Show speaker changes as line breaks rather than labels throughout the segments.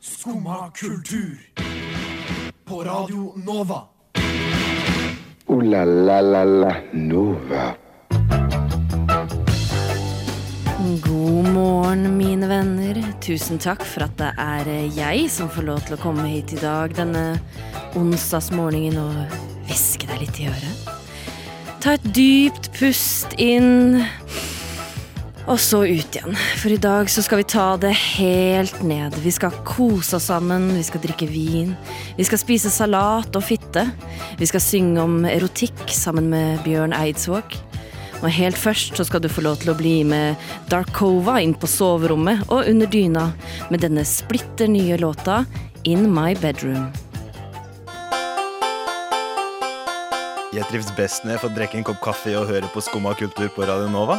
Skumma kultur. På Radio Nova.
Ooh la la la la Nova.
God morgen, mine venner. Tusen takk for at det er eh, jeg som får lov til å komme hit i dag denne onsdagsmorgenen og hviske deg litt i øret. Ta et dypt pust inn, og så ut igjen. For i dag så skal vi ta det helt ned. Vi skal kose oss sammen, vi skal drikke vin, vi skal spise salat og fitte. Vi skal synge om erotikk sammen med Bjørn Eidsvåg. Og helt først så skal du få lov til å bli med Darkova inn på soverommet og under dyna med denne splitter nye låta In My Bedroom.
Jeg trives best når jeg får drikke en kopp kaffe og høre på Skumma kultur på Radio Nova.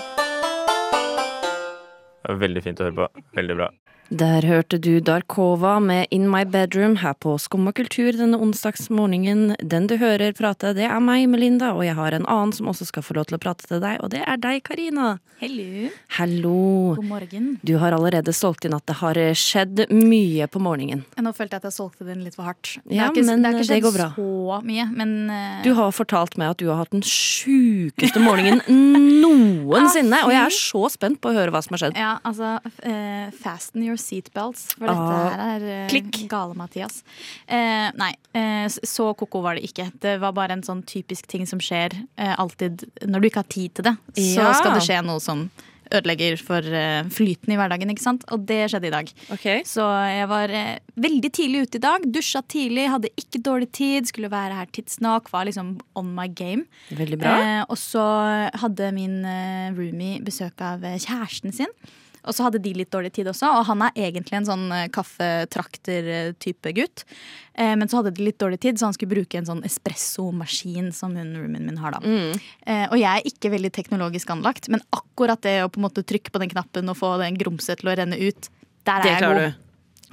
Det er Veldig fint å høre på. Veldig bra.
Der hørte du Darkova med In My Bedroom her på Skumma kultur denne onsdagsmorgenen. Den du hører prate, det er meg, Melinda, og jeg har en annen som også skal få lov til å prate til deg, og det er deg, Karina.
Hello.
Hallo.
God morgen.
Du har allerede solgt inn at det har skjedd mye på morgenen.
Nå følte jeg at jeg solgte den litt for hardt.
Ja,
det har ikke,
men eh,
det har ikke
det
skjedd
går bra.
så mye, men eh,
Du har fortalt meg at du har hatt den sjukeste morgenen noensinne. Og jeg er så spent på å høre hva som har skjedd.
ja, altså, f- eh, fasten your seatbelts, for
Ah,
dette her er eh,
klikk.
gale Mathias. Eh, nei, eh, s- så koko var det ikke. Det var bare en sånn typisk ting som skjer eh, alltid når du ikke har tid til det. Så
Ja.
skal det skje noe som ødelegger for eh, flyten i hverdagen, ikke sant? Og det skjedde i dag. Så jeg var eh, veldig tidlig ute i dag. Dusja tidlig, hadde ikke dårlig tid. Skulle være her tidsnok. Var liksom on my game.
Veldig bra.
Eh, og så hadde min eh, roomie besøk av eh, kjæresten sin. Og så hadde de litt dårlig tid også, og han er egentlig en sånn eh, kaffetrakter-type gutt. Eh, men så hadde de litt dårlig tid, så han skulle bruke en sånn espressomaskin som hun roomien min har, da.
Mm.
Eh, og jeg er ikke veldig teknologisk anlagt, men akkurat det å på en måte trykke på den knappen og få den grumset til å renne ut, der er
Det
jeg god.
klarer du.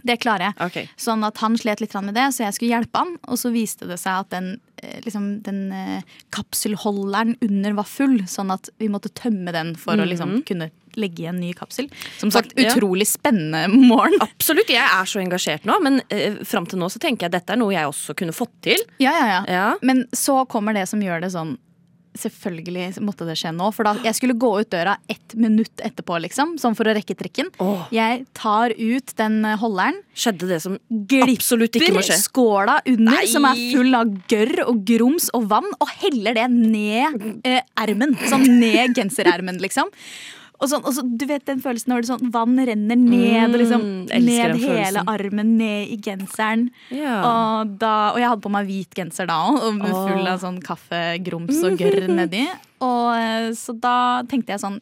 Det klarer jeg.
Ok.
Sånn at han slet litt grann med det, så jeg skulle hjelpe han. Og så viste det seg at den, eh, liksom, den eh, kapselholderen under var full, sånn at vi måtte tømme den for å liksom, kunne legge i en ny kapsel. Som sagt,
Mm. Ja.
utrolig spennende morgen.
Absolutt, jeg er så engasjert nå, men eh, fram til nå så tenker jeg at dette er noe jeg også kunne fått til.
Ja, ja, ja.
Ja.
Men så kommer det som gjør det sånn Selvfølgelig måtte det skje nå. For da jeg skulle gå ut døra ett minutt etterpå, liksom. Sånn for å rekke trikken.
Åh.
Jeg tar ut den eh, holderen.
Skjedde det som absolutt ikke må
glipper
skje.
skåla under,
Nei.
som er full av gørr og grums og vann, og heller det ned eh, ermen. Sånn ned genserermen, liksom. Og, sånn, og så, du vet den følelsen når det sånn vann renner ned, og liksom,
Mm, elsker
ned
den
hele
følelsen.
armen, ned i genseren.
Ja.
Og, da, og jeg hadde på meg hvit genser da òg, og med
Åh.
full av sånn kaffegrums og gørr nedi. Og, eh, så da tenkte jeg sånn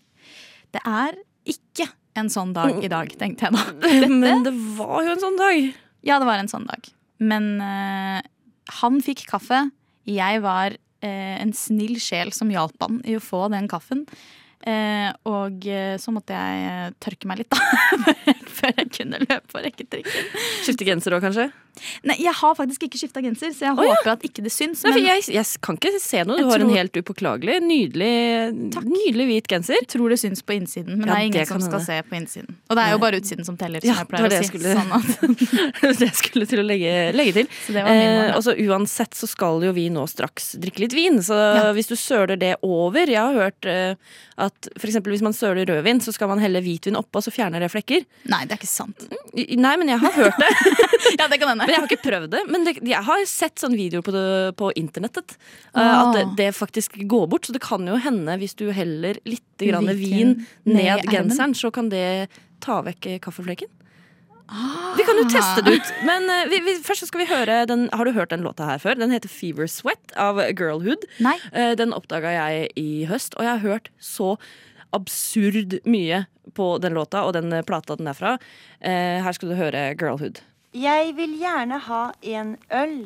Det er ikke en sånn dag i dag, tenkte jeg da.
Men det var jo en sånn dag.
Ja, det var en sånn dag. Men eh, han fikk kaffe. Jeg var eh, en snill sjel som hjalp han i å få den kaffen. Eh, og eh, så måtte jeg eh, tørke meg litt, da. Før jeg kunne løpe og rekke trikken.
Skifte genser òg, kanskje?
Nei, jeg har faktisk ikke skifta genser, så jeg
Å, ja.
håper at ikke det syns.
Nei, for
men
jeg, jeg kan ikke se noe. Du
Jeg
har en
tror-
helt upåklagelig, nydelig, nydelig hvit genser.
jeg tror det syns på innsiden,
Ja,
men det er
det
ingen som
kan
skal
hende.
se på innsiden. Og det er jo bare utsiden som teller, som
Ja, det var
jeg pleier
det
å
jeg
si.
skulle-
Sånn at,
det jeg skulle til å legge, legge til.
Så det var min morgen, da.
altså, uansett så skal jo vi nå straks drikke litt vin, så
Ja.
hvis du søler det over Jeg har hørt eh, at f.eks. hvis man søler rødvin, så skal man helle hvitvin oppå, så fjerner det flekker.
nei, det er ikke sant.
I- Nei, men jeg har hørt det.
Ja, det
Men
kan hende.
jeg har ikke prøvd det. Men det, jeg har sett sånne videoer på, det, på internettet. eh,
Ah.
At det, det faktisk går bort. Så det kan jo hende, hvis du heller litt grann vin
Hvitvin ned i
ned
ermen.
genseren, så kan det ta vekk eh, kaffeflekken.
Ah.
Vi kan jo teste det ut. Men eh, vi, vi, først så skal vi høre den, Har du hørt den låta her før? Den heter Fever Sweat av Girlhood.
Nei.
Eh, Den oppdaga jeg i høst, og jeg har hørt så absurd mye på den låta og den eh, plata den er fra. Eh, Her skal du høre Girlhood.
Jeg vil gjerne ha en øl,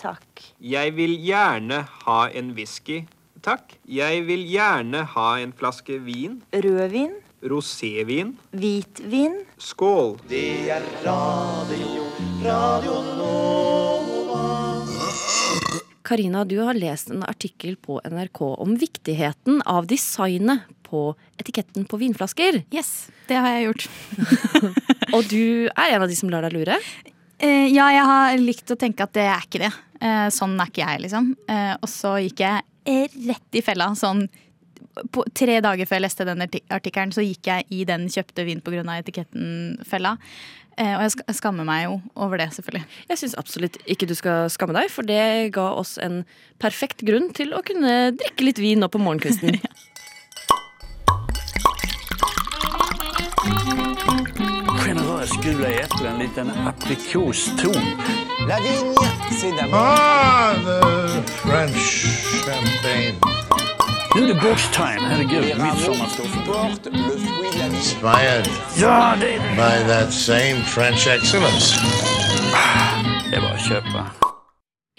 takk.
Jeg vil gjerne ha en whisky, takk. Jeg vil gjerne ha en flaske vin,
Rødvin,
rosévin,
hvitvin.
skål.
Karina, du har lest en artikkel på NRK om viktigheten av designet på etiketten på vinflasker.
Yes, det har jeg gjort.
Og du er en av de som lar deg lure.
Eh, ja, jeg har likt å tenke at det er ikke det. Eh, sånn er ikke jeg, liksom. Eh, og så gikk jeg eh, rett i fella. Sånn på, tre dager før jeg leste den arti- artikkelen, så gikk jeg i den kjøpte vin pga. etiketten-fella. Eh, og jeg sk- jeg skammer meg jo over det, selvfølgelig.
Jeg syns absolutt ikke du skal skamme deg, for det ga oss en perfekt grunn til å kunne drikke litt vin nå på morgenkvisten.
Generøst gul er eplen, litt en aprikoston. Nå er det boxtime. Herregud, midsommarstoff.
Inspired
Ja, det er det!
by that same French excellence.
Det er bare å kjøpe.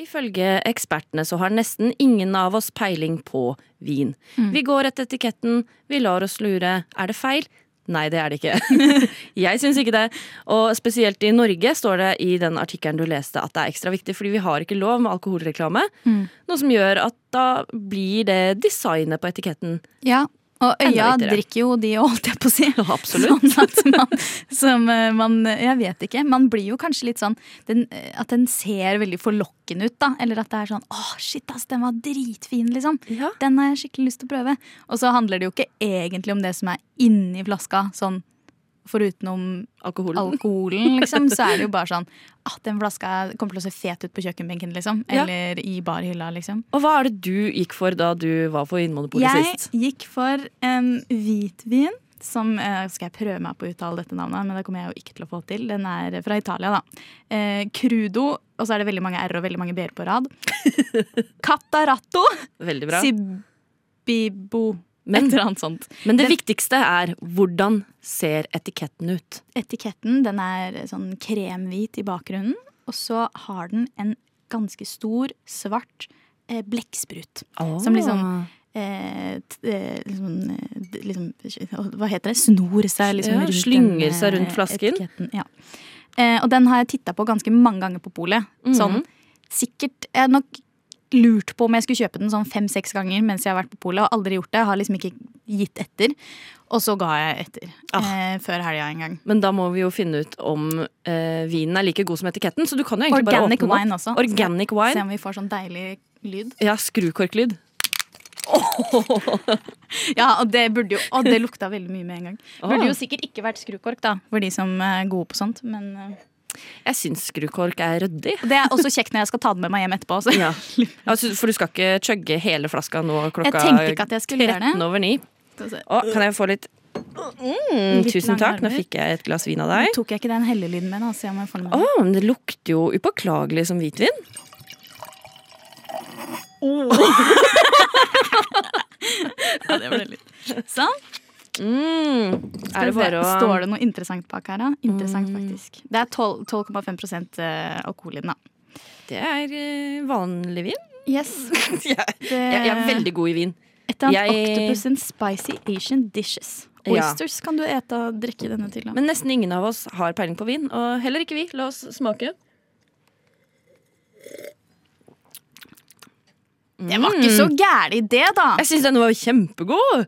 Ifølge ekspertene så har nesten ingen av oss peiling på vin.
Mm.
Vi går etter etiketten, vi lar oss lure. Er det feil? Nei, det er det ikke. Jeg syns ikke det. Og spesielt i Norge står det i den artikkelen du leste at det er ekstra viktig, fordi vi har ikke lov med alkoholreklame.
Mm.
Noe som gjør at da blir det designet på etiketten.
Ja, og øya
Enda viktigere.
drikker jo de òg, holdt jeg på å si.
absolutt.
Sånn at man, som eh, man Jeg vet ikke. Man blir jo kanskje litt sånn den, eh, at den ser veldig forlokkende ut, da. Eller at det er sånn åh, shit, ass, den var dritfin, liksom.
Ja.
Den har jeg skikkelig lyst til å prøve. Og så handler det jo ikke egentlig om det som er inni flaska, sånn forutenom
Alkoholen.
alkoholen, liksom, så er det jo bare sånn at den flaska kommer til å se fet ut på kjøkkenbenken, liksom.
Ja.
Eller i barhylla, liksom.
Og hva er det du gikk for da du var på Vinmonopolet
Jeg
sist?
gikk for en hvitvin som eh, Skal jeg prøve meg på å uttale dette navnet, men det kommer jeg jo ikke til å få til. Den er fra Italia, da. Eh, crudo, og så er det veldig mange r og veldig mange b-er på rad. Cataratto
Veldig bra.
sibibo Et
Men,
eller annet sånt.
men det viktigste er hvordan ser etiketten ut?
Etiketten den er sånn kremhvit i bakgrunnen, og så har den en ganske stor, svart eh, blekksprut. Som
Ah.
liksom- eh, t- eh, liksom, eh, d- liksom Hva heter det? Snor seg liksom
Ja,
rundt
slynger
den, eh,
seg rundt flasken.
etiketten, Ja. Eh, og den har jeg titta på ganske mange ganger på polet.
Mhm.
Sånn sikkert Jeg har nok lurt på om jeg skulle kjøpe den sånn fem-seks ganger mens jeg har vært på polet, og aldri gjort det. Jeg har liksom ikke gitt etter. Og så ga jeg etter.
Ah.
Eh, før helga en gang.
Men da må vi jo finne ut om eh, vinen er like god som etiketten. Så du kan jo egentlig
Organic
bare åpne den
wine også.
opp. Organic
Se
wine.
om vi får sånn deilig lyd.
Ja, skrukorklyd.
Ja, og det burde jo Å, det lukta veldig mye med en gang.
Å.
Burde jo sikkert ikke vært skrukork, da, for de som eh, er gode på sånt, men eh,
Jeg syns skrukork er ryddig.
Det er også kjekt når jeg skal ta den med meg hjem etterpå. Så.
Ja. Altså, for du skal ikke chugge hele flaska nå klokka
Jeg tenkte ikke at jeg skulle gjøre det.
13 over 9.
Skal vi se.
Å, kan jeg få litt mm,
Litt
Tusen
lange
takk. Nå
armer.
fikk jeg et glass vin av deg.
Nå tok jeg ikke den hellelyden med, da. Så jeg må få den
Å,
med.
men det lukter jo upåklagelig som hvitvin.
Ja, det ble litt- Sånn.
Mm. Er
Skal
det
vi se.
bare å
Står det noe interessant bak her, da? Interessant, faktisk. Det er 12 12,5 eh, alkohol i den, da.
Det er eh, vanlig vin.
Yes.
jeg,
Det,
jeg er veldig god i vin.
Et eller annet
jeg-
octopus and spicy Asian dishes.
Ja.
Oysters kan du ete og drikke denne til. da.
Men nesten ingen av oss har peiling på vin, og heller ikke vi. La oss smake.
det var ikke så gæren idé, da!
Mm. Jeg syns denne var kjempegod!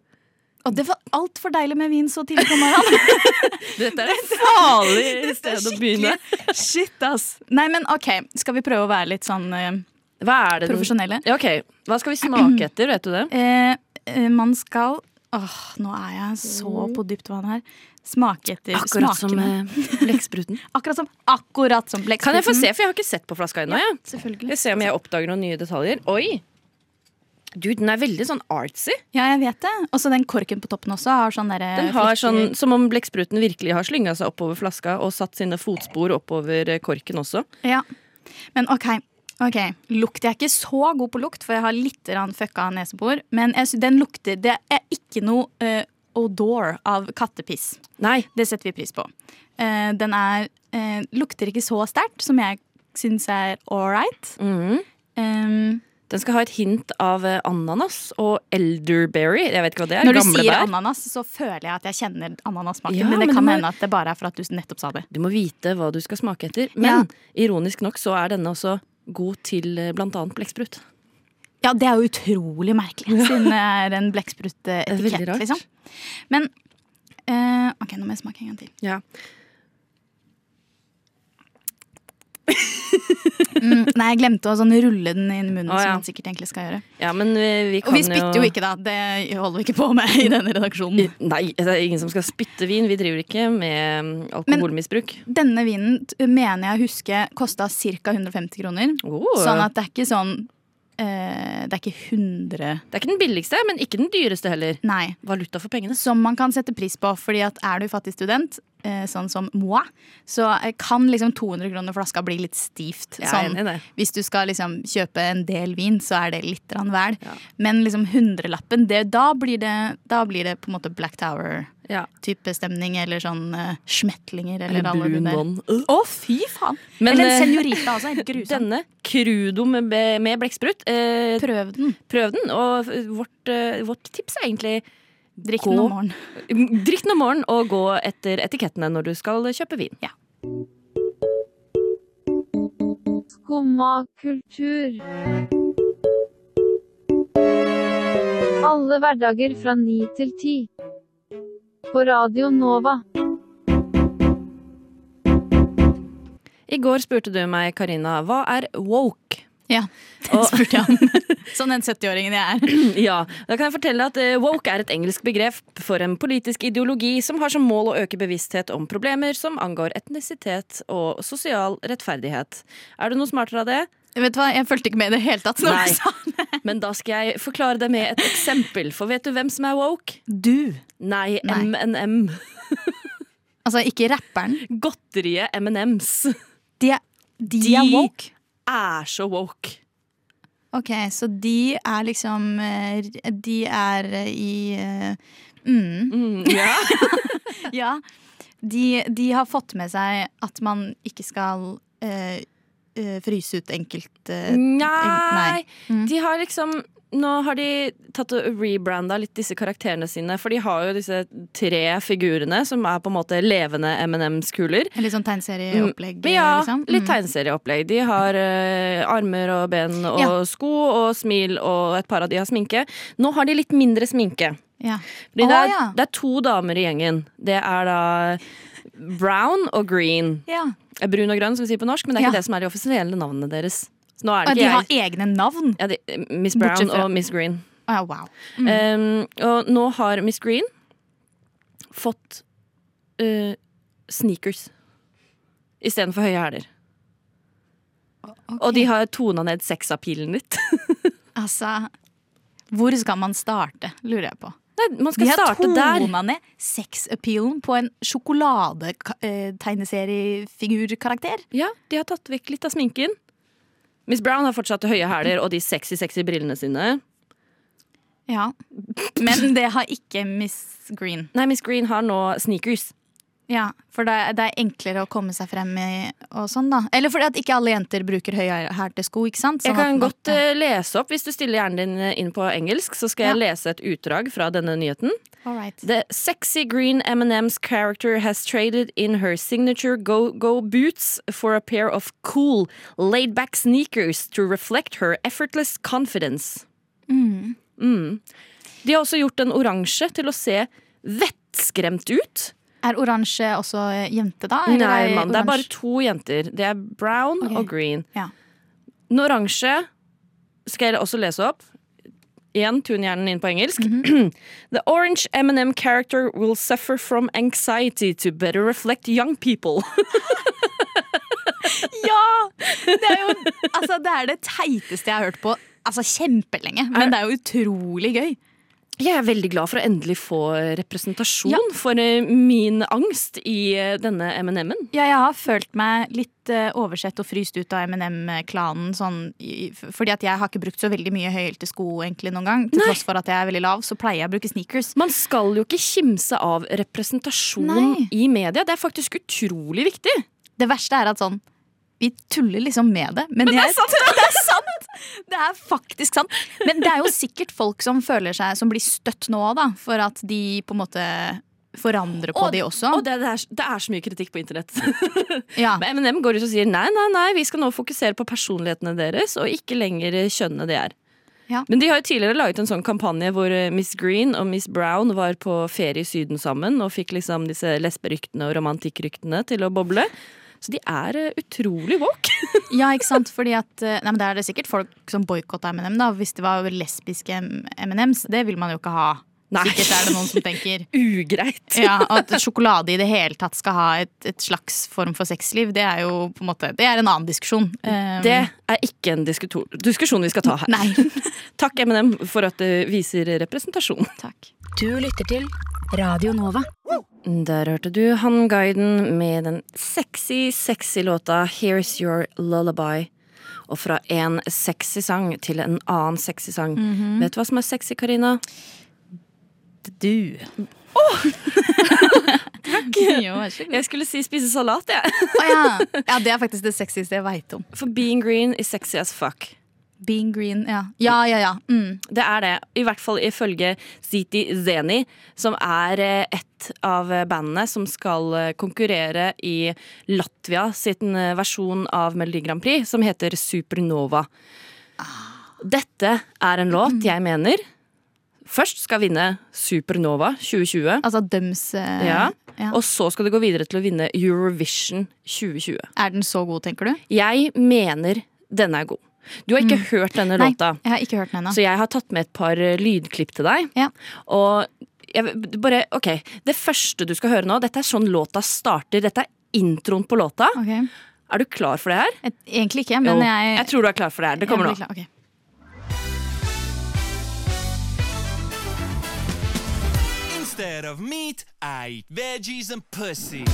Og det var altfor deilig med vin så tidlig på morgenen.
Dette er et farlig
er
sted å begynne.
Shit, ass. Nei, men OK. Skal vi prøve å være litt sånn eh,
Hva er det den-
profesjonelle?
Ja, ok. Hva skal vi smake etter, vet du det?
Eh, eh, man skal Åh, nå er jeg så
Mm.
på dypt vann her. Smake etter
Eh,
smakene.
blekkspruten.
akkurat som Akkurat som blekkspruten.
Kan jeg få se, for jeg har ikke sett på flaska ennå. jeg.
Selvfølgelig.
Jeg ser om jeg oppdager noen nye detaljer. Oi! Du, den er veldig sånn artsy.
Ja, jeg vet det. Og så den korken på toppen også har sånn derre
Den har
flekker.
sånn, Som om blekkspruten virkelig har slynga seg oppover flaska og satt sine fotspor oppover eh, korken også.
Ja. Men OK. ok, Lukt. Jeg er ikke så god på lukt, for jeg har litt rann fucka nesebor. Men jeg sy- den lukter Det er ikke noe eh, odor av kattepiss.
Nei,
Det setter vi pris på. Eh, den er, eh, lukter ikke så sterkt, som jeg syns er ålreit.
Mm.
Eh,
Den skal ha et hint av eh, ananas og elderberry. Jeg vet ikke hva det er.
når du
gamle
sier
bær.
ananas, så føler jeg at jeg kjenner ananassmaken.
Ja,
men det
men
kan
det må-
hende at det bare er for at du nettopp sa det.
Du må vite hva du skal smake etter. Men ironisk nok så er denne også god til eh, blant annet blekksprut.
Ja, det er jo utrolig merkelig, siden det er en
Det er veldig
blekksprut-etikett.
rart.
Liksom. Men eh, OK, nå må jeg smake en gang til.
Ja.
Mm, nei, jeg glemte å sånn rulle den inn i munnen,
Å, ja.
som man sikkert egentlig skal gjøre.
ja, men vi, vi
Og
kan
vi spytter jo ikke, da. Det holder vi ikke på med i denne redaksjonen.
Nei, det er ingen som skal spytte vin. Vi driver ikke med mm, alkoholmisbruk.
Denne vinen t- mener jeg å huske kosta ca. 150 kroner.
Åh.
Sånn at det er ikke sånn eh, Det er ikke 100
Det er ikke den billigste, men ikke den dyreste heller.
Nei.
Valuta for pengene.
Som man kan sette pris på, fordi at er du fattig student, eh, sånn som moi, så eh, kan liksom 200 kroner flaska bli litt stivt.
Jeg er
Sånn,
enig i det.
hvis du skal liksom kjøpe en del vin, så er det litt grann vel. Men liksom hundrelappen, det, da, blir det, da blir det på en måte Black Tower-type
Ja.
stemning, eller sånn eh, smetlinger, eller,
Eller
alle
Blue
de der.
Non.
Å, fy faen!
Men,
eller en
eh,
senorita også, helt grusom.
Denne crudo med, med blekksprut, eh,
Prøv den.
prøv den. Og vårt, eh, vårt tips er egentlig
Drikk
Gå.
den om morgenen.
drikk den om morgenen og gå etter etikettene når du skal kjøpe vin.
Skumma kultur. Alle hverdager fra 9 til 10. På Radio Nova.
I går spurte du meg, Karina, hva er woke?
Ja, det
Og-
spurte jeg om. Sånn den 70-åringen jeg er.
Ja, da kan jeg fortelle at eh, Woke er et engelsk begrep for en politisk ideologi som har som mål å øke bevissthet om problemer som angår etnisitet og sosial rettferdighet. Er du noe smartere av det?
Vet du hva, Jeg fulgte ikke med i det hele tatt. Når
Nei.
du sa det.
Men da skal jeg forklare det med et eksempel, for vet du hvem som er woke?
Du.
Nei,
Nei.
M&M.
Altså ikke rapperen.
Godteriet M&M's
De er, de
De-
er woke.
er så woke.
Ok, så de er liksom eh, De er eh, i eh, mm,
ja.
Ja. De, de har fått med seg at man ikke skal eh, eh, fryse ut enkelt eh,
Nei.
Nei. Mm.
De har liksom nå har de tatt og rebranda litt disse karakterene sine. For de har jo disse tre figurene som er på en måte levende M&M's-kuler.
Litt sånn tegneserieopplegg.
Men Mm. ja,
liksom.
litt
Mm.
tegneserieopplegg. De har eh, armer og ben og
Ja.
sko og smil, og et par av de har sminke. Nå har de litt mindre sminke.
Ja.
Fordi
Å,
det, er,
ja.
det er to damer i gjengen. Det er da brown og green.
ja.
Eh, Brun og grønn, som vi sier på norsk, men det er
Ja.
ikke det som er de offisielle navnene deres. Så nå er
Og
det
de
ikke
har
jeg.
egne navn?
Ja, de, eh, Miss Brown
Bortsett fra- Mm.
og Miss Green.
Å, ja, wow.
Eh, og nå har Miss Green fått eh, sneakers istedenfor høye hæler.
Ah, Ok.
Og de har tona ned sexappealen litt.
Altså Hvor skal man starte, lurer jeg på.
Nei, man skal
De har
starte der.
tona ned sexappealen på en sjokoladetegneseriefigurkarakter.
Ja, De har tatt vekk litt av sminken. Miss Brown har fortsatt høye hæler og de sexy, sexy brillene sine.
Ja. Men det har ikke Miss Green.
Nei, Miss Green har nå sneakers.
Ja, For det er, det er enklere å komme seg frem i og sånn, da. Eller fordi at ikke alle jenter bruker høyhælte sko, ikke sant? Sånn
jeg kan
at man-
godt eh, lese opp, hvis du stiller hjernen din eh, inn på engelsk, så skal jeg lese et utdrag fra denne nyheten.
All right.
The sexy green M&M's character has traded in her signature go-go boots for a pair of cool, laid-back sneakers to reflect her effortless confidence. Mm. De har også gjort den oransje til å se vettskremt ut.
Er oransje også jente, da? eller
Nei, mann, det
oransje-
er bare to jenter. Det er brown
Ok.
og green.
Ja.
Den oransje skal jeg også lese opp. Igjen, tun hjernen inn på engelsk. The orange M&M character will suffer from anxiety to better reflect young people.
Ja! Det er jo altså, det, er det teiteste jeg har hørt på altså, kjempelenge. Men det er jo utrolig gøy.
Jeg er veldig glad for å endelig få representasjon
Ja.
for eh, min angst i eh, denne M&M-en.
Ja, jeg har følt meg litt eh, oversett og fryst ut av M&M-klanen. Sånn, i- f- fordi at jeg har ikke brukt så veldig mye høyhælte sko egentlig noen gang. Til tross for at jeg er veldig lav, så pleier jeg å bruke sneakers.
Man skal jo ikke kimse av representasjon
Nei.
i media. Det er faktisk utrolig viktig.
Det verste er at sånn vi tuller liksom med det, men, det, er sant. det er sant! Det er faktisk sant. Men det er jo sikkert folk som føler seg som blir støtt nå da, for at de på en måte forandrer på
Og-
de også.
Og det, det, er, det er så mye kritikk på internett.
ja.
Men M&M går ut og sier nei, nei, nei, vi skal nå fokusere på personlighetene deres, og ikke lenger kjønnet eh, de er.
Ja.
Men de har jo tidligere laget en sånn kampanje hvor eh, Miss Green og Miss Brown var på ferie i Syden sammen og fikk liksom disse lesberyktene og romantikkryktene til å boble. Så de er eh, utrolig woke.
Ja, ikke sant? Fordi at eh, Nei, men det er det sikkert folk som boikotta M&M, da. Hvis det var lesbiske M- M&Ms. Det vil man jo ikke ha.
Nei.
Sikkert er det noen som tenker.
Ugreit.
Ja, og At sjokolade i det hele tatt skal ha et, et slags form for sexliv, det er jo på en måte Det er en annen diskusjon. Eh,
Det
Um,
er ikke en diskuto- diskusjon vi skal ta her.
Nei.
Takk, M&M, for at du viser representasjon.
Takk.
Du lytter til Radio Nova.
Der hørte du Handguiden med den sexy, sexy låta Here's Your Lullaby. Og fra en sexy sang til en annen sexy sang.
Mhm.
Vet du hva som er sexy, Karina?
Du.
Takk!
Jo, vær så god.
Jeg skulle si spise salat, jeg.
Å ja. ja, det er faktisk det sexieste jeg veit om.
For being green is sexy as fuck.
Being green, ja. Ja, ja, ja. Mm.
Det er det. I hvert fall ifølge Ziti Zeni, som er eh, et av bandene som skal eh, konkurrere i Latvia sin eh, versjon av Melodi Grand Prix, som heter Supernova. Dette er en låt jeg mener først skal vinne Supernova 2020.
Altså døms eh,
ja.
ja.
Og så skal det gå videre til å vinne Eurovision 2020.
Er den så god, tenker du?
Jeg mener denne er god. Du har ikke hørt denne
Mm. Nei,
låta.
jeg har ikke hørt den ennå.
Så jeg har tatt med et par eh, lydklipp til deg.
Ja.
Og jeg, du bare, ok, Det første du skal høre nå, dette er sånn låta starter. Dette er introen på låta.
Ok.
Er du klar for det her?
Et- Egentlig ikke, men
Jo,
jeg
jeg tror du er klar for det her. Det kommer
jeg blir
nå.
klar. Ok.
Instead of meat, I eat veggies and pussy.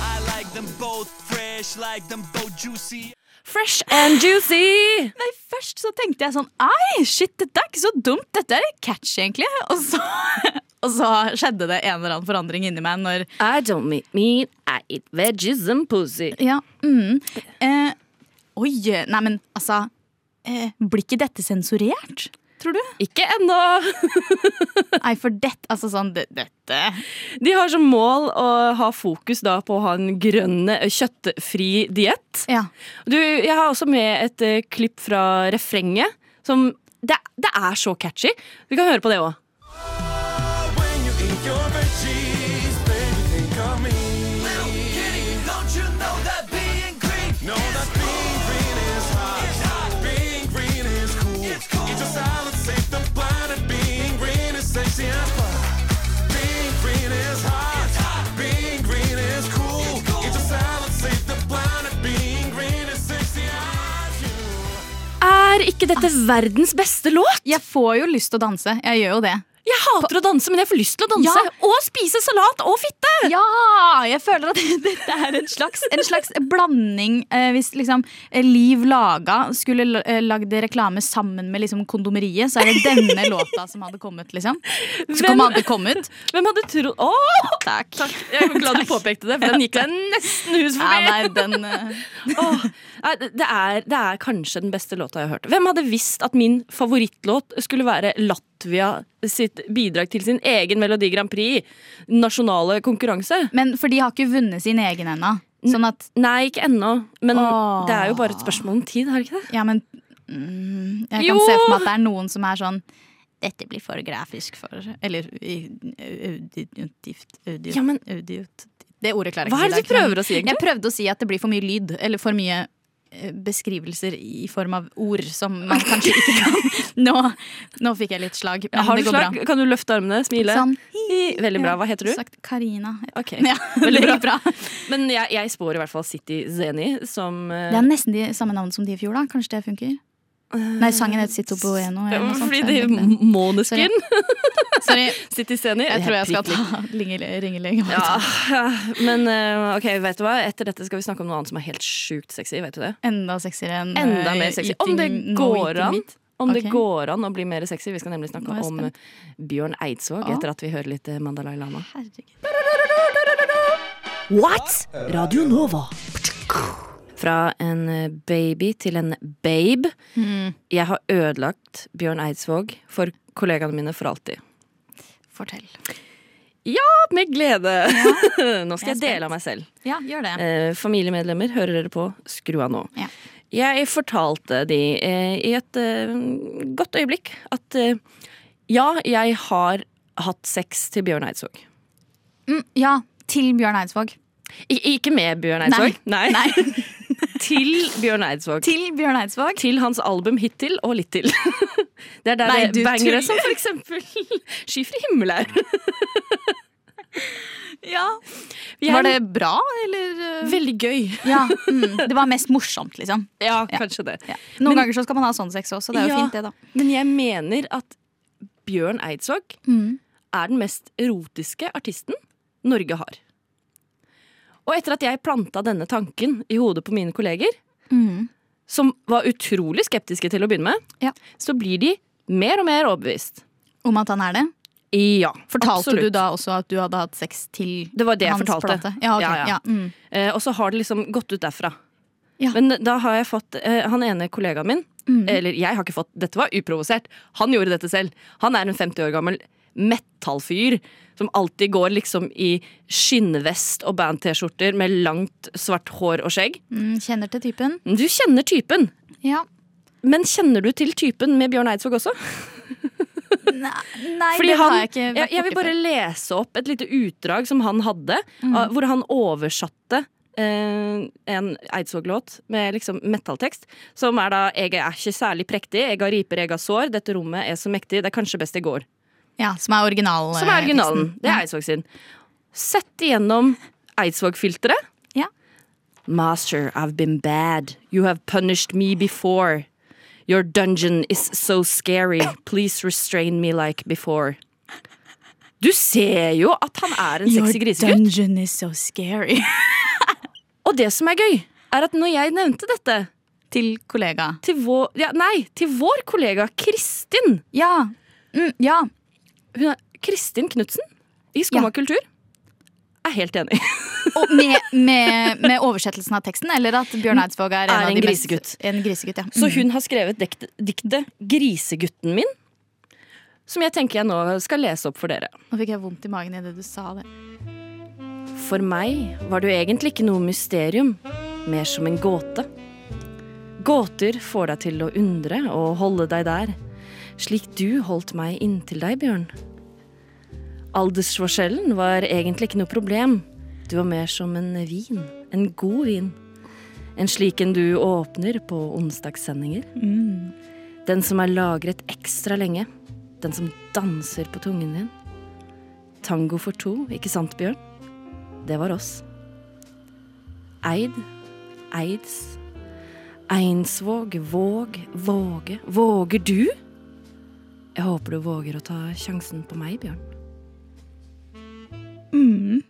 I like them both fresh, like them both juicy.
Fresh and juicy!
Nei, Først så tenkte jeg sånn Ei, shit, dette er ikke så dumt. Dette er litt catchy, egentlig. Og så, og så skjedde det en eller annen forandring inni meg når
I don't meet meat, I eat veggies and pussy.
Ja, mm, eh, Oi! Nei, men altså eh, Blir ikke dette sensurert? Tror du?
Ikke ennå!
Nei, for dette Altså sånn det, Dette
De har som mål å ha fokus da på å ha en grønn, eh, kjøttfri diett.
Ja.
Du, jeg har også med et eh, klipp fra refrenget som det, det er så catchy. Vi kan høre på det òg.
When you eat your veggies, baby, think of me. Little kitty, don't you know that being green? Know that being green is hot. Being green is cool. Eat your salad, save the planet. Being green is sexy and fun. Being green is hot. Being green is cool. Eat your salad, save the planet. Being green is sexy and you.
Er ikke dette verdens beste låt?
Jeg får jo lyst til å danse. Jeg gjør jo det.
Jeg hater å danse, men jeg får lyst til å danse.
Ja.
Og spise salat og fitte!
Ja! Jeg føler at dette er en slags, en slags blanding. Eh, hvis liksom eh, Liv Laga skulle la- eh, lagd reklame sammen med liksom kondomeriet, så er det denne låta som hadde kommet, liksom. Som
Hvem-
hadde kommet.
Hvem hadde trodd Åh!
Takk.
Jeg er glad du påpekte det, for den gikk deg nesten hus
Ja,
forbi.
nei, den eh,
Åh, nei, det, er, det er kanskje den beste låta jeg har hørt. Hvem hadde visst at min favorittlåt skulle være Latvia sitt bidrag til sin egen Melodi Grand Prix? Nasjonale konkurranse?
Men for de har ikke vunnet sin egen ennå. Sånn at
Nei, ikke ennå. Men
Åh.
det er jo bare et spørsmål om tid, har det ikke det?
Ja, men mm, Jeg kan
Jo!
se for meg at det er noen som er sånn dette blir for grafisk for Eller i- auditivt audio,
Ja, men-
audiot- Det ordet klarer jeg
Hva
ikke
er det
i
du
dag.
prøver å si, egentlig?
Jeg prøvde å si at det blir for mye lyd. Eller for mye eh, beskrivelser i form av ord som man kanskje ikke kan Nå, nå fikk jeg litt slag, men
Har
det
du
går
slag? Kan du løfte armene, smile?
bra. Sånn.
I- Veldig bra. Hva heter
Ja,
du?
Sagt Karina.
Ok.
Ja,
Veldig
det gikk bra.
Men jeg, jeg spår i hvert fall City Zeni som eh,
Det er nesten de samme navn som de i fjor, da. Kanskje det funker? Nei, sangen heter Sitto Bueno.
ja,
eller noe sånt,
Eh, Fordi
så
de
jeg tenkte-
Måneskin
Sorry.
City Zeni
Jeg tror jeg skal
prikk, prikk.
ta linge- ringelenge.
ja, ja, men eh, ok, vet du hva? Etter dette skal vi snakke om noe annet som er helt sjukt sexy. Vet du det?
Enda sexyere enn
Enda
eh,
mer sexy.
eating-
Om det
no
går
eating
an.
meat.
Om det
Ok.
går an å bli mer sexy. Vi skal nemlig
Nå
snakke
er jeg
om
spent.
Bjørn Eidsvåg
Ja.
etter at vi hører litt eh, Mandalay Lama.
Herregud.
What? Radio Nova.
Fra en eh, baby til en babe.
Mm.
Jeg har ødelagt Bjørn Eidsvåg for kollegaene mine for alltid.
Fortell.
Med glede! Nå skal
jeg
jeg
er
dele av meg selv.
Ja, gjør det.
Eh, familiemedlemmer, hører dere på? Skru av nå.
Ja.
Jeg fortalte de eh, i et eh, godt øyeblikk at eh, ja, jeg har hatt sex til Bjørn Eidsvåg.
Mm, ja, til Bjørn Eidsvåg.
ikke med Bjørn Eidsvåg? Nei. til Bjørn Eidsvåg.
Til Bjørn Eidsvåg.
Til hans album Hittil og litt til. Det er der
Nei,
det
du
bangere
tuller.
som for eksempel Skyfri himmel er.
Ja.
Vi er-
Var det bra, eller? eh?
Veldig gøy.
Ja, mm, Det var mest morsomt, liksom.
Ja, kanskje det.
Noen
Men-
ganger så skal man ha sånn sex også, det er jo
Ja,
fint, det, da.
Men jeg mener at Bjørn Eidsvåg
Mm.
er den mest erotiske artisten Norge har. Og etter at jeg planta denne tanken i hodet på mine kolleger,
Mm.
som var utrolig skeptiske til å begynne med, så blir de mer og mer overbevist.
Om at han er det?
Ja,
Fortalte
absolutt.
du da også at du hadde hatt sex til
Det var det jeg
hans
fortalte.
plate? Ja, ok,
Ja, ja.
ja, mm.
Eh, og så har det liksom gått ut derfra.
Ja.
Men da har jeg fått eh, han ene kollegaen min
Mhm.
Eller jeg har ikke fått Dette var uprovosert. Han gjorde dette selv. Han er en 50 år gammel metallfyr som alltid går liksom i skinnvest og band-T-skjorter med langt, svart hår og skjegg.
Mm, kjenner til typen.
Du kjenner typen.
Ja.
Men kjenner du til typen med Bjørn Eidsvåg også?
Nei,
Fordi
det
han,
har jeg ikke vært
jeg, jeg vil
borti
bare
før.
lese opp et lite utdrag som han hadde,
Mhm.
av- hvor han oversatte eh, en Eidsvåg-låt med liksom metalltekst, som er da 'Jeg er ikke særlig prektig, jeg har riper, jeg har sår, dette rommet er så mektig, det er kanskje best jeg går'.
Ja, som er original. eh,
Som er originalen. Det er Eidsvåg sin. Sett igjennom Eidsvåg-filteret.
Ja.
Master, I've been bad. You have punished me before. Your dungeon is so scary. Please restrain me like before. Du ser jo at han er en sexy grisegutt.
dungeon is so scary.
Og det som er gøy, er at når jeg nevnte dette
til kollega
til vår, ja, Nei, til vår kollega Kristin.
Ja. Mm, ja.
Hun er, Kristin Knutsen i Skumma kultur er helt enig.
Og med, med, med oversettelsen av teksten, eller at Bjørn Eidsvåg er en,
Mm. Er
av
en
de mest-
grisegutt.
En grisegutt, ja.
Så
Mm.
hun har skrevet diktet, diktet 'Grisegutten min', som jeg tenker jeg nå skal lese opp for dere.
Nå fikk jeg vondt i magen idet du sa det.
For meg var det jo egentlig ikke noe mysterium, mer som en gåte. Gåter får deg til å undre og holde deg der, slik du holdt meg inntil deg, Bjørn. Aldersforskjellen var egentlig ikke noe problem. Du var mer som en vin, en god vin. En slik en du åpner på onsdagssendinger.
Mm.
Den som er lagret ekstra lenge. Den som danser på tungen din. Tango for to, ikke sant, Bjørn? Det var oss. Eid, Eids, Einsvåg, Våg, Våge. Våger du? Jeg håper du våger å ta sjansen på meg, Bjørn.
Mm.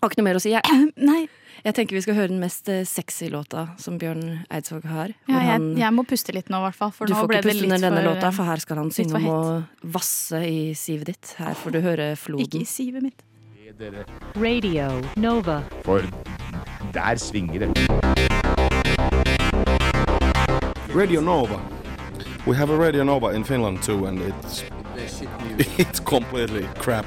Har ikke noe mer å si. Jeg,
Nei.
jeg tenker vi skal høre den mest eh, sexy låta som Bjørn Eidsvåg har.
Ja,
hvor
jeg,
han-
jeg må puste litt nå, i hvert fall. For
du
nå
får
ble
ikke puste
det litt
under denne
for,
låta, for her skal han
litt
synge
for
om å vasse i sivet ditt. Her får du høre floden.
eh, Ikke i sivet mitt.
Radio Nova.
For der svinger det.
Radio Nova. We have a Radio Nova in Finland too, and it's it's completely crap.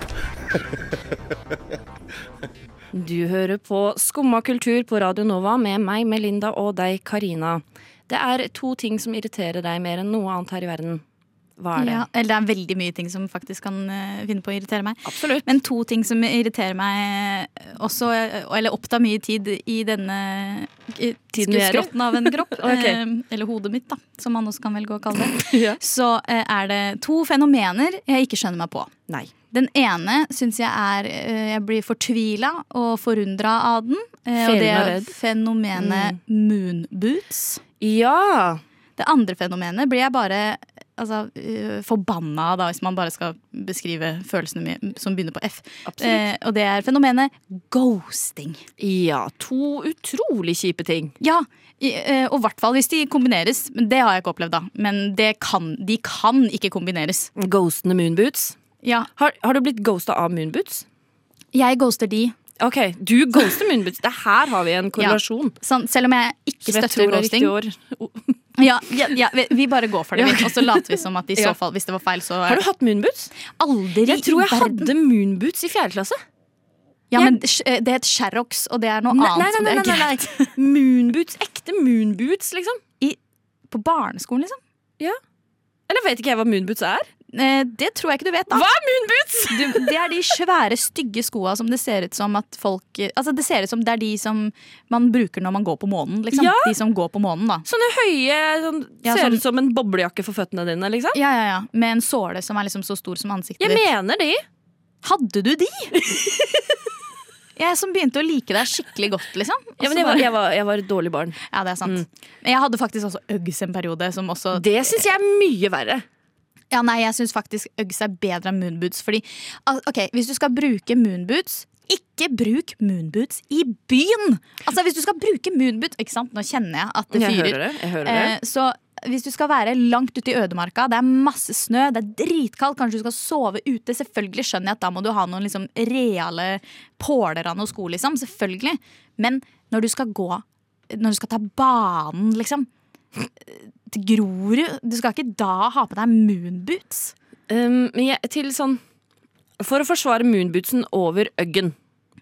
Du hører på Skumma kultur på Radio Nova med meg, Melinda, og deg, Karina. Det er to ting som irriterer deg mer enn noe annet her i verden. Hva er det?
Ja, eller det er veldig mye ting som faktisk kan eh, finne på å irritere meg. Men to ting som irriterer meg eh, også, eh, eller opptar mye tid i denne eh,
Tiden vi er i?
skrotten av en kropp.
Ok.
eh, Eller hodet mitt, da, som man også kan velge å kalle det. Så eh, er det to fenomener jeg ikke skjønner meg på.
Nei.
Den ene syns jeg er eh, Jeg blir fortvila og forundra av den. eh, Og
Felen
det
og
er
redd. Mm.
fenomenet moonboots.
Ja!
Det andre fenomenet blir jeg bare altså, øh, forbanna av, da, hvis man bare skal beskrive følelsene mine som begynner på F. Eh,
Absolutt.
og det er fenomenet ghosting.
Ja, to utrolig kjipe ting.
Ja, i, eh, og i hvert fall hvis de kombineres. Men det har jeg ikke opplevd, da. Men det kan, de kan ikke kombineres.
Ghostende moonboots?
Ja.
Har, har du blitt ghosta av moonboots?
Jeg ghoster de.
Ok, du ghoster moonboots. Det her har vi en korrelasjon.
Ja, sånn, selv om jeg ikke
Som jeg
støtter
tror er
ghosting.
riktig
Ja, ja, ja, vi- vi bare går for det,
Ja,
vi.
ok.
og så later vi som at i så
Ja.
fall, hvis det var feil, så
Har du hatt moonboots?
Aldri
Jeg tror jeg
i verden.
hadde moonboots i fjerde klasse.
Ja, men sh- Det het Sherrox, og det er noe
Nei,
annet.
nei,
som
nei,
det er
nei, nei,
greit.
Moonboots, ekte heter moonboots, liksom.
på barneskolen, liksom?
Ja. Eller vet ikke jeg hva moonboots er?
Eh, det tror jeg ikke du vet, da.
Hva er moonboots?
Du, det er de svære, stygge skoa som det ser ut som at folk Altså, det ser ut som det er de som man bruker når man går på månen, liksom.
Ja.
De som går på månen, da.
Sånne høye sånn,
Ja,
Ser
sånn-
ut som en boblejakke for føttene dine, liksom.
Ja, ja, ja. Med en såle som er liksom så stor som ansiktet
Jeg mener de.
Hadde du de? Jeg som begynte å like deg skikkelig godt, liksom.
Ja, men jeg var, jeg, var, jeg var et dårlig barn.
Ja, det er sant. Men Jeg hadde faktisk også Uggs en periode. Som også
Det syns jeg er mye verre.
Ja, nei, jeg syns faktisk Uggs er bedre enn moonboots. Fordi, al- ok, Hvis du skal bruke moonboots, ikke bruk moonboots i byen! Altså, hvis du skal bruke moonboots Ikke sant, nå kjenner jeg at det
Jeg
fyrer.
hører det, jeg hører det.
Eh, så hvis du skal være langt ute i ødemarka, det er masse snø, det er dritkaldt, kanskje du skal sove ute. Selvfølgelig skjønner jeg at da må du ha noen liksom reale påler av noe sko, liksom. Selvfølgelig. Men når du skal gå Når du skal ta banen, liksom, til Grorud Du skal ikke da ha på deg moonboots.
Um, men jeg, til sånn For å forsvare moonbootsen over Uggen.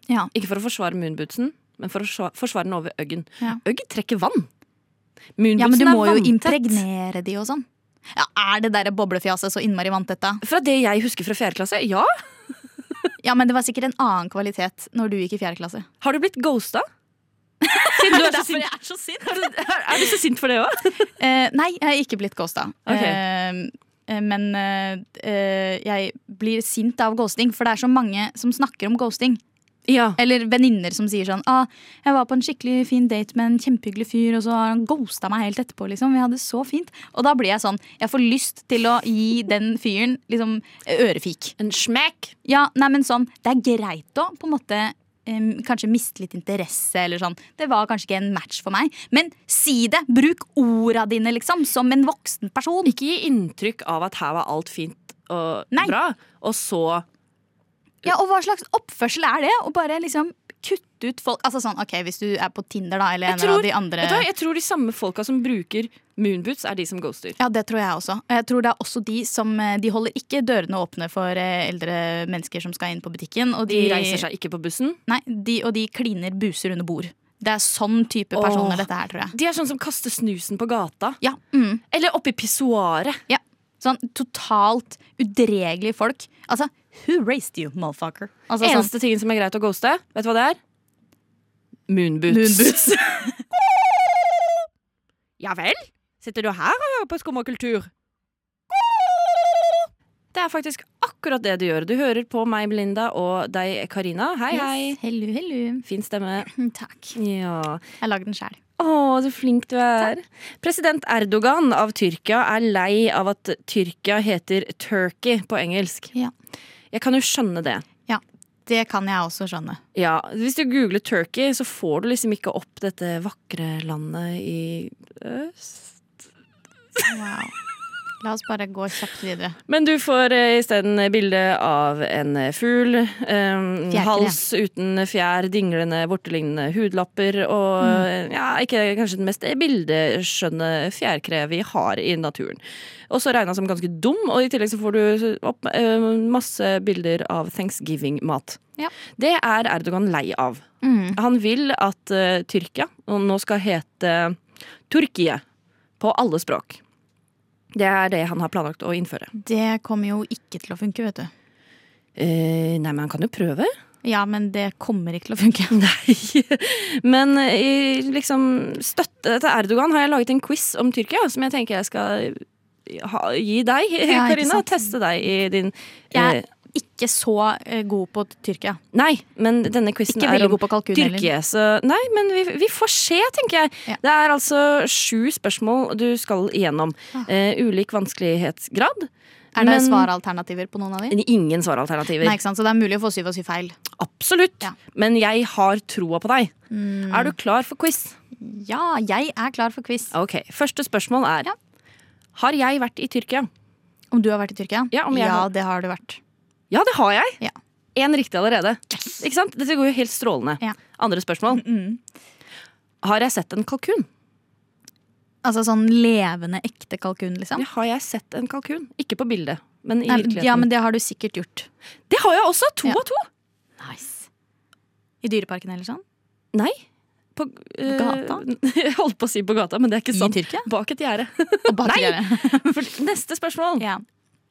Ikke for å forsvare moonbootsen, men for å forsva- forsvare den over Uggen.
Ja.
Øgg trekker vann.
Ja, men
Moonbootsen
du må
er
jo
vanntett.
impregnere de og sånn. Ja, Er det der boblefjaset så innmari vanntett, da?
Fra det jeg husker fra fjerde klasse, ja.
Ja, Men det var sikkert en annen kvalitet når du gikk i fjerde klasse.
Har du blitt ghosta? Siden du er så
Derfor
sint.
jeg er så sint.
Er du så sint for det òg?
Eh, nei, jeg er ikke blitt ghosta.
Ok.
Eh, eh, men eh, eh, jeg blir sint av ghosting, for det er så mange som snakker om ghosting. Eller venninner som sier sånn ah, 'Jeg var på en skikkelig fin date med en kjempehyggelig fyr, og så har han ghosta meg helt etterpå.' liksom, Vi hadde det så fint. Og da blir jeg sånn Jeg får lyst til å gi den fyren liksom ørefik.
En smekk.
Ja, nei, men sånn Det er greit å på en måte em, kanskje miste litt interesse eller sånn. Det var kanskje ikke en match for meg. Men si det! Bruk orda dine, liksom, som en voksen person.
Ikke gi inntrykk av at her var alt fint og bra, og så
Ja, og hva slags oppførsel er det? Å bare liksom kutte ut folk Altså sånn, ok, hvis du er på Tinder, da, eller en
jeg tror,
av de andre
vet du hva, jeg tror de samme folka som bruker moonboots, er de som ghoster.
Ja, det tror jeg også. Og Jeg tror det er også de som eh, De holder ikke dørene åpne for eh, eldre mennesker som skal inn på butikken. Og
De reiser seg ikke på bussen?
Nei, de, og de kliner buser under bord. Det er sånn type personer
Åh.
dette her, tror jeg.
De er sånn som kaster snusen på gata.
Ja. mm.
Eller oppi pissoaret.
Ja. Sånn totalt udregelige folk. Altså, who raised you, motherfucker? Altså, sånn-
Eneste tingen som er greit å ghoste, vet du hva det er? Moonboots. ja vel? Sitter du her og hører på Skum og kultur? Det er faktisk akkurat det du gjør. Du hører på meg, Belinda, og deg, Karina. Hei,
Yes.
hei.
Hello, hello. Hmm,
Fin stemme.
Takk.
Ja.
Jeg lagde den sjæl.
Å, så flink du er. President Erdogan av Tyrkia er lei av at Tyrkia heter Turkey på engelsk. Jeg kan jo skjønne det.
Ja, det kan jeg også skjønne.
Ja, Hvis du googler Turkey, så får du liksom ikke opp dette vakre landet i øst.
Wow. La oss bare gå kjapt videre.
Men du får eh, isteden bilde av en eh, fugl. eh, hals uten fjær, dinglende, vortelignende hudlapper og eh, ja, ikke kanskje den mest bildeskjønne fjærkre vi har i naturen. Også regna som ganske dum, og i tillegg så får du opp eh, masse bilder av thanksgiving-mat.
Ja.
Det er Erdogan lei av.
Mm.
Han vil at eh, Tyrkia og nå skal hete Turkie på alle språk. Det er det han har planlagt å innføre.
Det kommer jo ikke til å funke, vet du.
Eh, nei, men han kan jo prøve.
Ja, men det kommer ikke til å funke.
Men eh, i liksom støtte til Erdogan har jeg laget en quiz om Tyrkia, som jeg tenker jeg skal eh, ha, gi deg,
Ja, ikke
Karina.
sant.
Teste deg i din eh,
Jeg er ikke så eh, god på Tyrkia.
Nei, men denne quizen
Ikke
er
veldig
om
god på kalkun heller.
Tyrkia. Så nei, men vi, vi får se, tenker jeg. Det er altså sju spørsmål du skal igjennom.
Ah.
Eh, ulik vanskelighetsgrad.
Er det
men-
svaralternativer på noen av de?
Ingen svaralternativer.
Nei, ikke sant? Så det er mulig å få syv og syv feil.
Absolutt. Men jeg har troa på deg.
Mm.
Er du klar for quiz?
Ja, jeg er klar for quiz.
Ok, Første spørsmål er Har jeg vært i Tyrkia?
Om du har vært i Tyrkia?
Ja, om jeg
ja
har.
det har du vært.
Ja, det har jeg. Én riktig allerede. Ikke sant? Dette går jo helt strålende. Andre spørsmål. Har jeg sett en kalkun?
Altså sånn levende, ekte kalkun, liksom?
Ja, har jeg sett en kalkun? Ikke på bildet, men i
Nei,
virkeligheten.
Ja, men det har du sikkert gjort.
Det har jeg også! To av to.
Nice. I Dyreparken eller sånn?
Nei. på eh,
Gata?
Jeg holdt på å si på gata, men det er ikke sant.
Tyrkia?
Bak et gjerde.
Nei!
For neste spørsmål.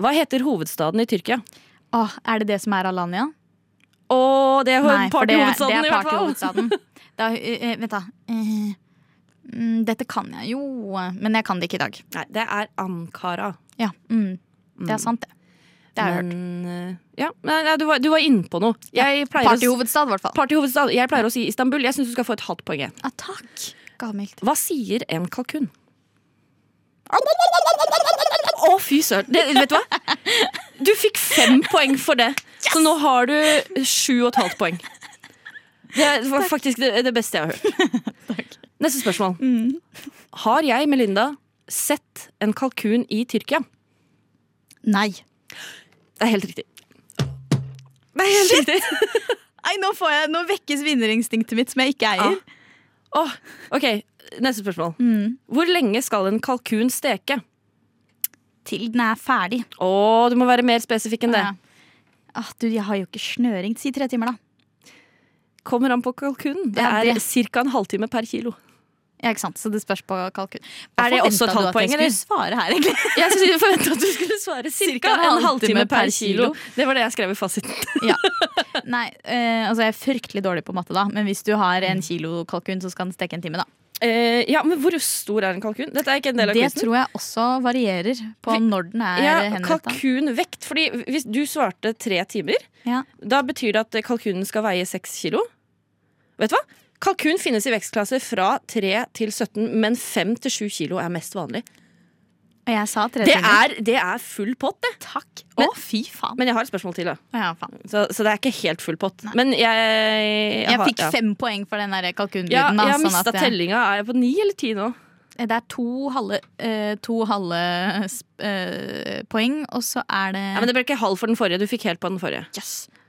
Hva heter hovedstaden i Tyrkia?
Åh, er det det som er Alanya?
Å, det er
Nei, for det-
partyhovedstaden,
det er
i hvert fall.
partyhovedstaden. Da, eh, eh, vent, da. Eh, mm, dette kan jeg jo, men jeg kan det ikke i dag.
Nei, det er Ankara.
Ja, mm. Det er sant, det. Det har jeg hørt.
Men, eh, Ja, men, ja, du var, du var inne på noe. Jeg pleier å s-
Partyhovedstad, i hvert fall. Ah,
Partyhovedstad. Jeg pleier å si Istanbul. Jeg syns du skal få et halvt poeng. jeg.
takk. Gavmildt.
Hva sier en kalkun? Å, fy søren! Det- Vet du hva? Du fikk fem poeng for det, så nå har du sju og et halvt poeng. Det var faktisk det, det beste jeg har hørt. Neste spørsmål. Har jeg, Melinda, sett en kalkun i Tyrkia?
Nei.
Det er helt riktig. Det er helt riktig.
Nei, nå, får jeg, nå vekkes vinnerinstinktet mitt, som jeg ikke eier.
Åh, ok, neste spørsmål.
Mm.
Hvor lenge skal en kalkun steke?
Til den er ferdig.
Å, du må være mer spesifikk enn det.
Ah, du, jeg har jo ikke snøring. Si tre timer, da.
Kommer an på kalkunen. Det
Ja,
er
det-
ca. en halvtime per kilo.
Ja, ikke sant? Så det spørs på kalkun.
Er det også et halvt poeng, eller?
eller? Jeg skulle svare her, egentlig.
Jeg skulle si- forventet at du skulle svare ca. en halvtime per kilo. Det var det jeg skrev i fasiten.
Nei, eh, altså jeg er fryktelig dårlig på matte, da. Men hvis du har en kilo kalkun, så skal den steke en time, da.
Eh, ja, men hvor stor er en kalkun? Dette er ikke en del av
Det
quizen.
tror jeg også varierer på når den er eh,
Ja,
henretta.
kalkunvekt. Fordi hvis du svarte tre timer, da betyr det at kalkunen skal veie seks kilo. Vet du hva? Kalkun finnes i vekstklasser fra 3 til 17, men 5 til 7 kilo er mest vanlig.
Og jeg sa tre
Det
timer.
er, det er full pott, det.
Takk.
Men,
fy faen.
men jeg har et spørsmål til, da.
Ja, faen.
Så, så det er ikke helt full pott. Men jeg Jeg,
Jeg
har-
fikk
ja.
fem poeng for den der kalkunlyden.
Ja,
da,
altså, jeg har
sånn
mista
at jeg- Eh,
tellinga. Er jeg på ni eller ti nå?
Det er to halve, eh, to halve sp- eh, poeng, og så er det
Ja, men Det ble ikke halv for den forrige. Du fikk helt på den forrige.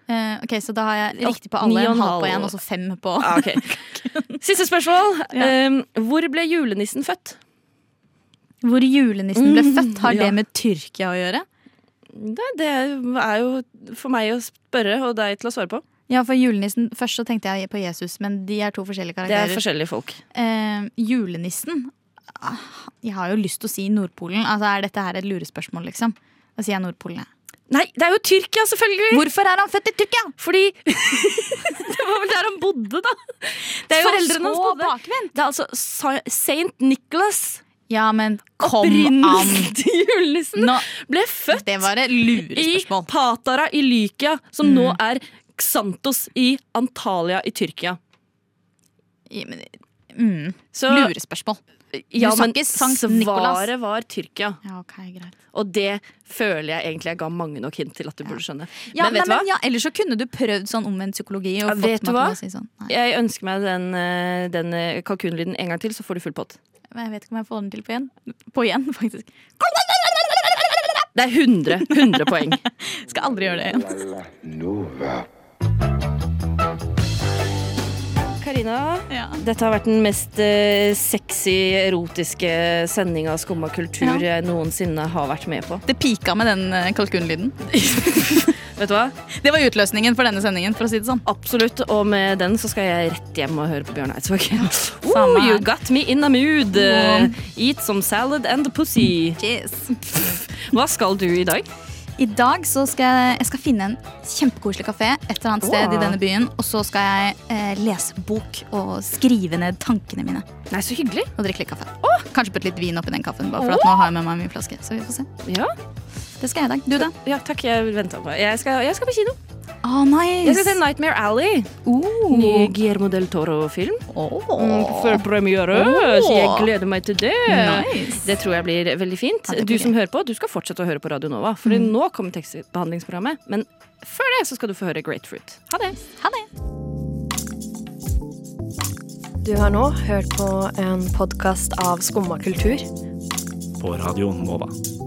Eh, Ok, Så da har jeg riktig på
Åt-
alle.
ni og en
En halv på
halv.
én, og så fem på
Ja, Ah, ok. Siste spørsmål.
Ja.
Um, hvor ble julenissen født?
Hvor julenissen ble
Mm,
født, har det
ja.
med Tyrkia å gjøre?
Det, det er jo for meg å spørre og deg til å svare på.
Ja, for julenissen, Først så tenkte jeg på Jesus, men de er to forskjellige
Det
karakterer.
er forskjellige folk.
Eh, julenissen Ah, Jeg har jo lyst til å si Nordpolen. Altså, Er dette her et lurespørsmål, liksom? Da sier jeg Nordpolen. jeg.
Nei, det er jo Tyrkia, selvfølgelig!
Hvorfor er han født i Tyrkia?
Fordi Det var vel der han bodde, da! Det er jo
Foreldrene
Foreldrene
hans
hans
bodde.
bodde. Det er altså Sa- Saint Nicholas.
Ja, men kom an!
Opprinnelsen til julenissen
Nå-
ble født
Det var et Mm.
i
lurespørsmål.
Patara i Lykia, som nå er Xantos i Antalya i Tyrkia.
I- men- Mm.
Så-
Lurespørsmål.
Ja,
du sa
men
ikke Sankt Nikolas.
svaret var Tyrkia.
Ja, ok, greit.
Og det føler jeg egentlig jeg ga mange nok hint til at du burde skjønne.
Ja,
men vet
nei, men,
du hva?
ja, ellers så kunne du prøvd sånn omvendt psykologi. Og
Ja,
fått
vet
meg
du
til
hva?
å Si sånn. Nei,
Jeg ønsker meg den, eh, den eh, kalkunlyden en gang til, så får du full pott.
men jeg vet ikke om jeg får den til på igjen. På igjen, faktisk.
Det er 100, 100 poeng.
Skal aldri gjøre det igjen.
Nova.
Karina, dette har vært den mest eh, sexy, erotiske sendinga av Skumma kultur jeg noensinne har vært med på.
Det pika med den eh, kalkunlyden.
Vet du hva?
Det var utløsningen for denne sendingen. for å si det sånn
Absolutt, og med den så skal jeg rett hjem og høre på Bjørn Eidsvåg.
samme
Ooh,
her.
Oh, you got me in a mood.
Wow.
Eh, Eat some salad and pussy. Hva skal du i dag?
I dag så skal jeg, jeg skal finne en kjempekoselig kafé et eller annet sted i
Åh.
denne byen. Og så skal jeg eh, lese bok og skrive ned tankene mine.
Nei, så hyggelig
Og drikke litt kaffe. Kanskje putte litt vin oppi den kaffen. Bare for at nå har jeg med meg min flaske. Så vi får se.
Ja,
Det skal jeg i dag. Du, da?
ja takk, jeg venta på Jeg skal, jeg skal på kino.
Å, nice.
Jeg skal se Nightmare Alley. Ny Guillermo del Toro-film. Mm, Før premiere,
Åh.
så jeg gleder meg til det.
Nice.
Det tror jeg blir veldig fint.
det Mm. blir
Du som hører på, du skal fortsette å høre på Radio Nova, for nå kommer tekstbehandlingsprogrammet. Men før det så skal du få høre Grapefruit. Ha det.
Du har nå hørt på en podkast av Skumma kultur.
På Radio Nova.